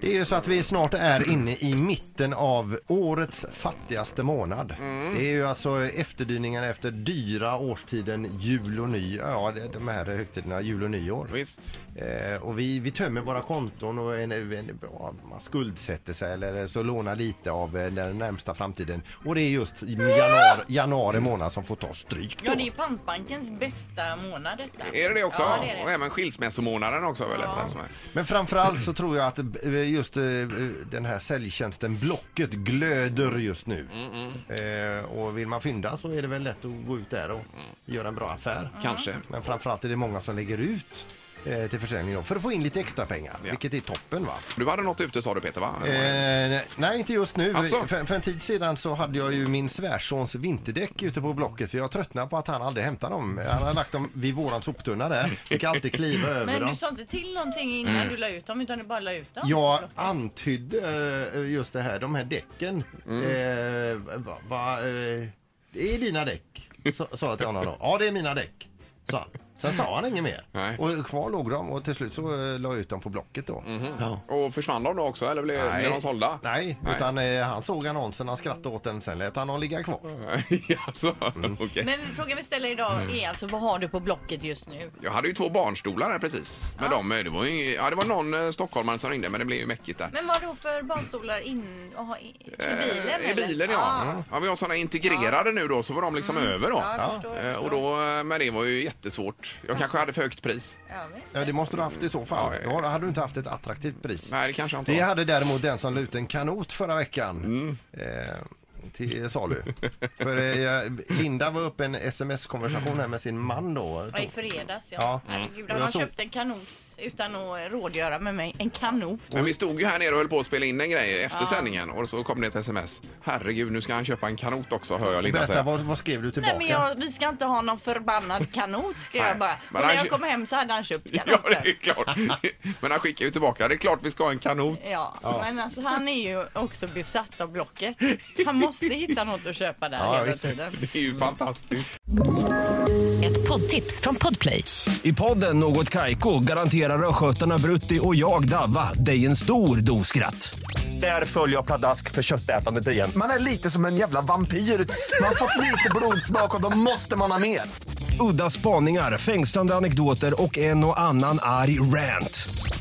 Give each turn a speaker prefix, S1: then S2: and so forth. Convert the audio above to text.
S1: Det är ju så att vi snart är inne i mitten av årets fattigaste månad. Det är ju alltså efterdyningarna efter dyra årstiden jul och ny, ja det- de här högtiderna jul och nyår.
S2: Visst.
S1: Eh, och vi, vi tömmer våra konton och en, en, ja, man skuldsätter sig eller så lånar lite av eh, den närmsta framtiden. Och det är just i januari, januari månad som får ta stryk då.
S3: Ja, det är ju pantbankens bästa månad detta.
S2: Är det det också?
S3: Ja, det är
S2: Och
S3: det.
S2: även skilsmässomånaden också har jag läst här som är.
S1: Men framförallt så tror jag att eh, just eh, den här säljtjänsten Blocket glöder just nu.
S3: Mm,
S1: Eh, och vill man fynda så är det väl lätt att gå ut där och göra en bra affär.
S2: Kanske.
S1: Men framförallt är det många som lägger ut eh, till försäljning då, för att få in lite extra pengar,
S2: Ja.
S1: vilket är toppen va.
S2: Du hade något ute sa du Peter va?
S1: Eh, nej, inte just nu.
S2: Asså?
S3: Alltså-
S1: För, för en tid sedan så hade jag ju min svärsons vinterdäck ute på Blocket för jag tröttnade på att han aldrig hämtade dem. Han hade lagt dem vid våran soptunna där. Fick alltid kliva över
S3: Men
S1: dem.
S3: du sa inte till någonting innan
S2: Mm.
S3: du la ut dem, utan du bara la ut dem?
S1: Jag antydde eh, just det här, de här däcken.
S2: Mm.
S1: Eh, va, va, eh, det är dina däck, sa- sa jag till honom då. Ja, det är mina däck, sa han. Sen sa han inget mer.
S2: Nej.
S1: Och kvar låg de och till slut så eh, la jag ut dem på Blocket då. Ja.
S3: Eh.
S2: Och försvann de då också eller blev, blev Mhm. de sålda?
S1: Nej,
S2: Nej.
S1: utan eh, han såg annonsen, han skrattade åt den, sen lät han dem ligga kvar.
S2: alltså, okej.
S3: Mm. Men frågan vi ställer idag är alltså vad har du på Blocket just nu?
S2: Jag hade ju två barnstolar här precis. Men de, det var ju, ja det var någon eh, stockholmare som ringde men det blev ju mäckigt där.
S3: Men vad då för barnstolar in, att ha i, i
S2: Eh,
S3: bilen?
S2: I
S3: eller?
S2: bilen ja. Mm. Ja, vi har sådana integrerade nu då så var de liksom över då.
S3: Mm. Ja, jag förstår, jag
S2: Eh, Och då, eh, men det var ju jättesvårt. Jag kanske hade för högt pris.
S3: Ja, men-
S1: Ja, det måste du haft i så fall.
S2: Ja, ja,
S1: Då har- hade du inte haft ett attraktivt pris.
S2: Nej, det kanske jag inte
S1: Det
S2: var.
S1: hade däremot den som la ut en kanot förra veckan. Eh, till salu. För eh, Linda var uppe i en sms-konversation här med sin man då.
S3: Ja, I fredags ja.
S1: Ja.
S3: Herregud,
S2: Mm.
S1: Och
S3: han
S1: jag
S3: har
S1: såg-
S3: köpt en kanot utan att rådgöra med mig. En kanot.
S2: Men vi stod ju här nere och höll på att spela in en grej efter sändningen och så kom det ett sms. Herregud, nu ska han köpa en kanot också hör jag Linda
S1: Berätta,
S2: säga.
S1: vad, vad skrev du
S3: Nej,
S1: tillbaka?
S3: men jag, vi ska inte ha någon förbannad kanot skrev
S2: Nej,
S3: jag bara.
S2: men
S3: Och när
S2: han
S3: jag
S2: kö-
S3: kom hem så hade han köpt
S2: Ja,
S3: kanoten.
S2: det är klart. Men han skickar ju tillbaka. Det är klart vi ska ha en kanot.
S3: Ja, men alltså han är ju också besatt av Blocket. Han måste hitta något att köpa där
S1: Ja,
S3: hela
S1: visst.
S3: tiden.
S2: Det är ju fantastiskt.
S4: Ett poddtips från Podplay.
S5: I podden Något Kaiko garanterar östgötarna Brutti och jag, Davva, dig en stor dos skratt. Där följer jag pladask för köttätandet igen.
S6: Man är lite som en jävla vampyr. Man har fått lite blodsmak och då måste man ha mer.
S5: Udda spaningar, fängslande anekdoter och en och annan arg rant.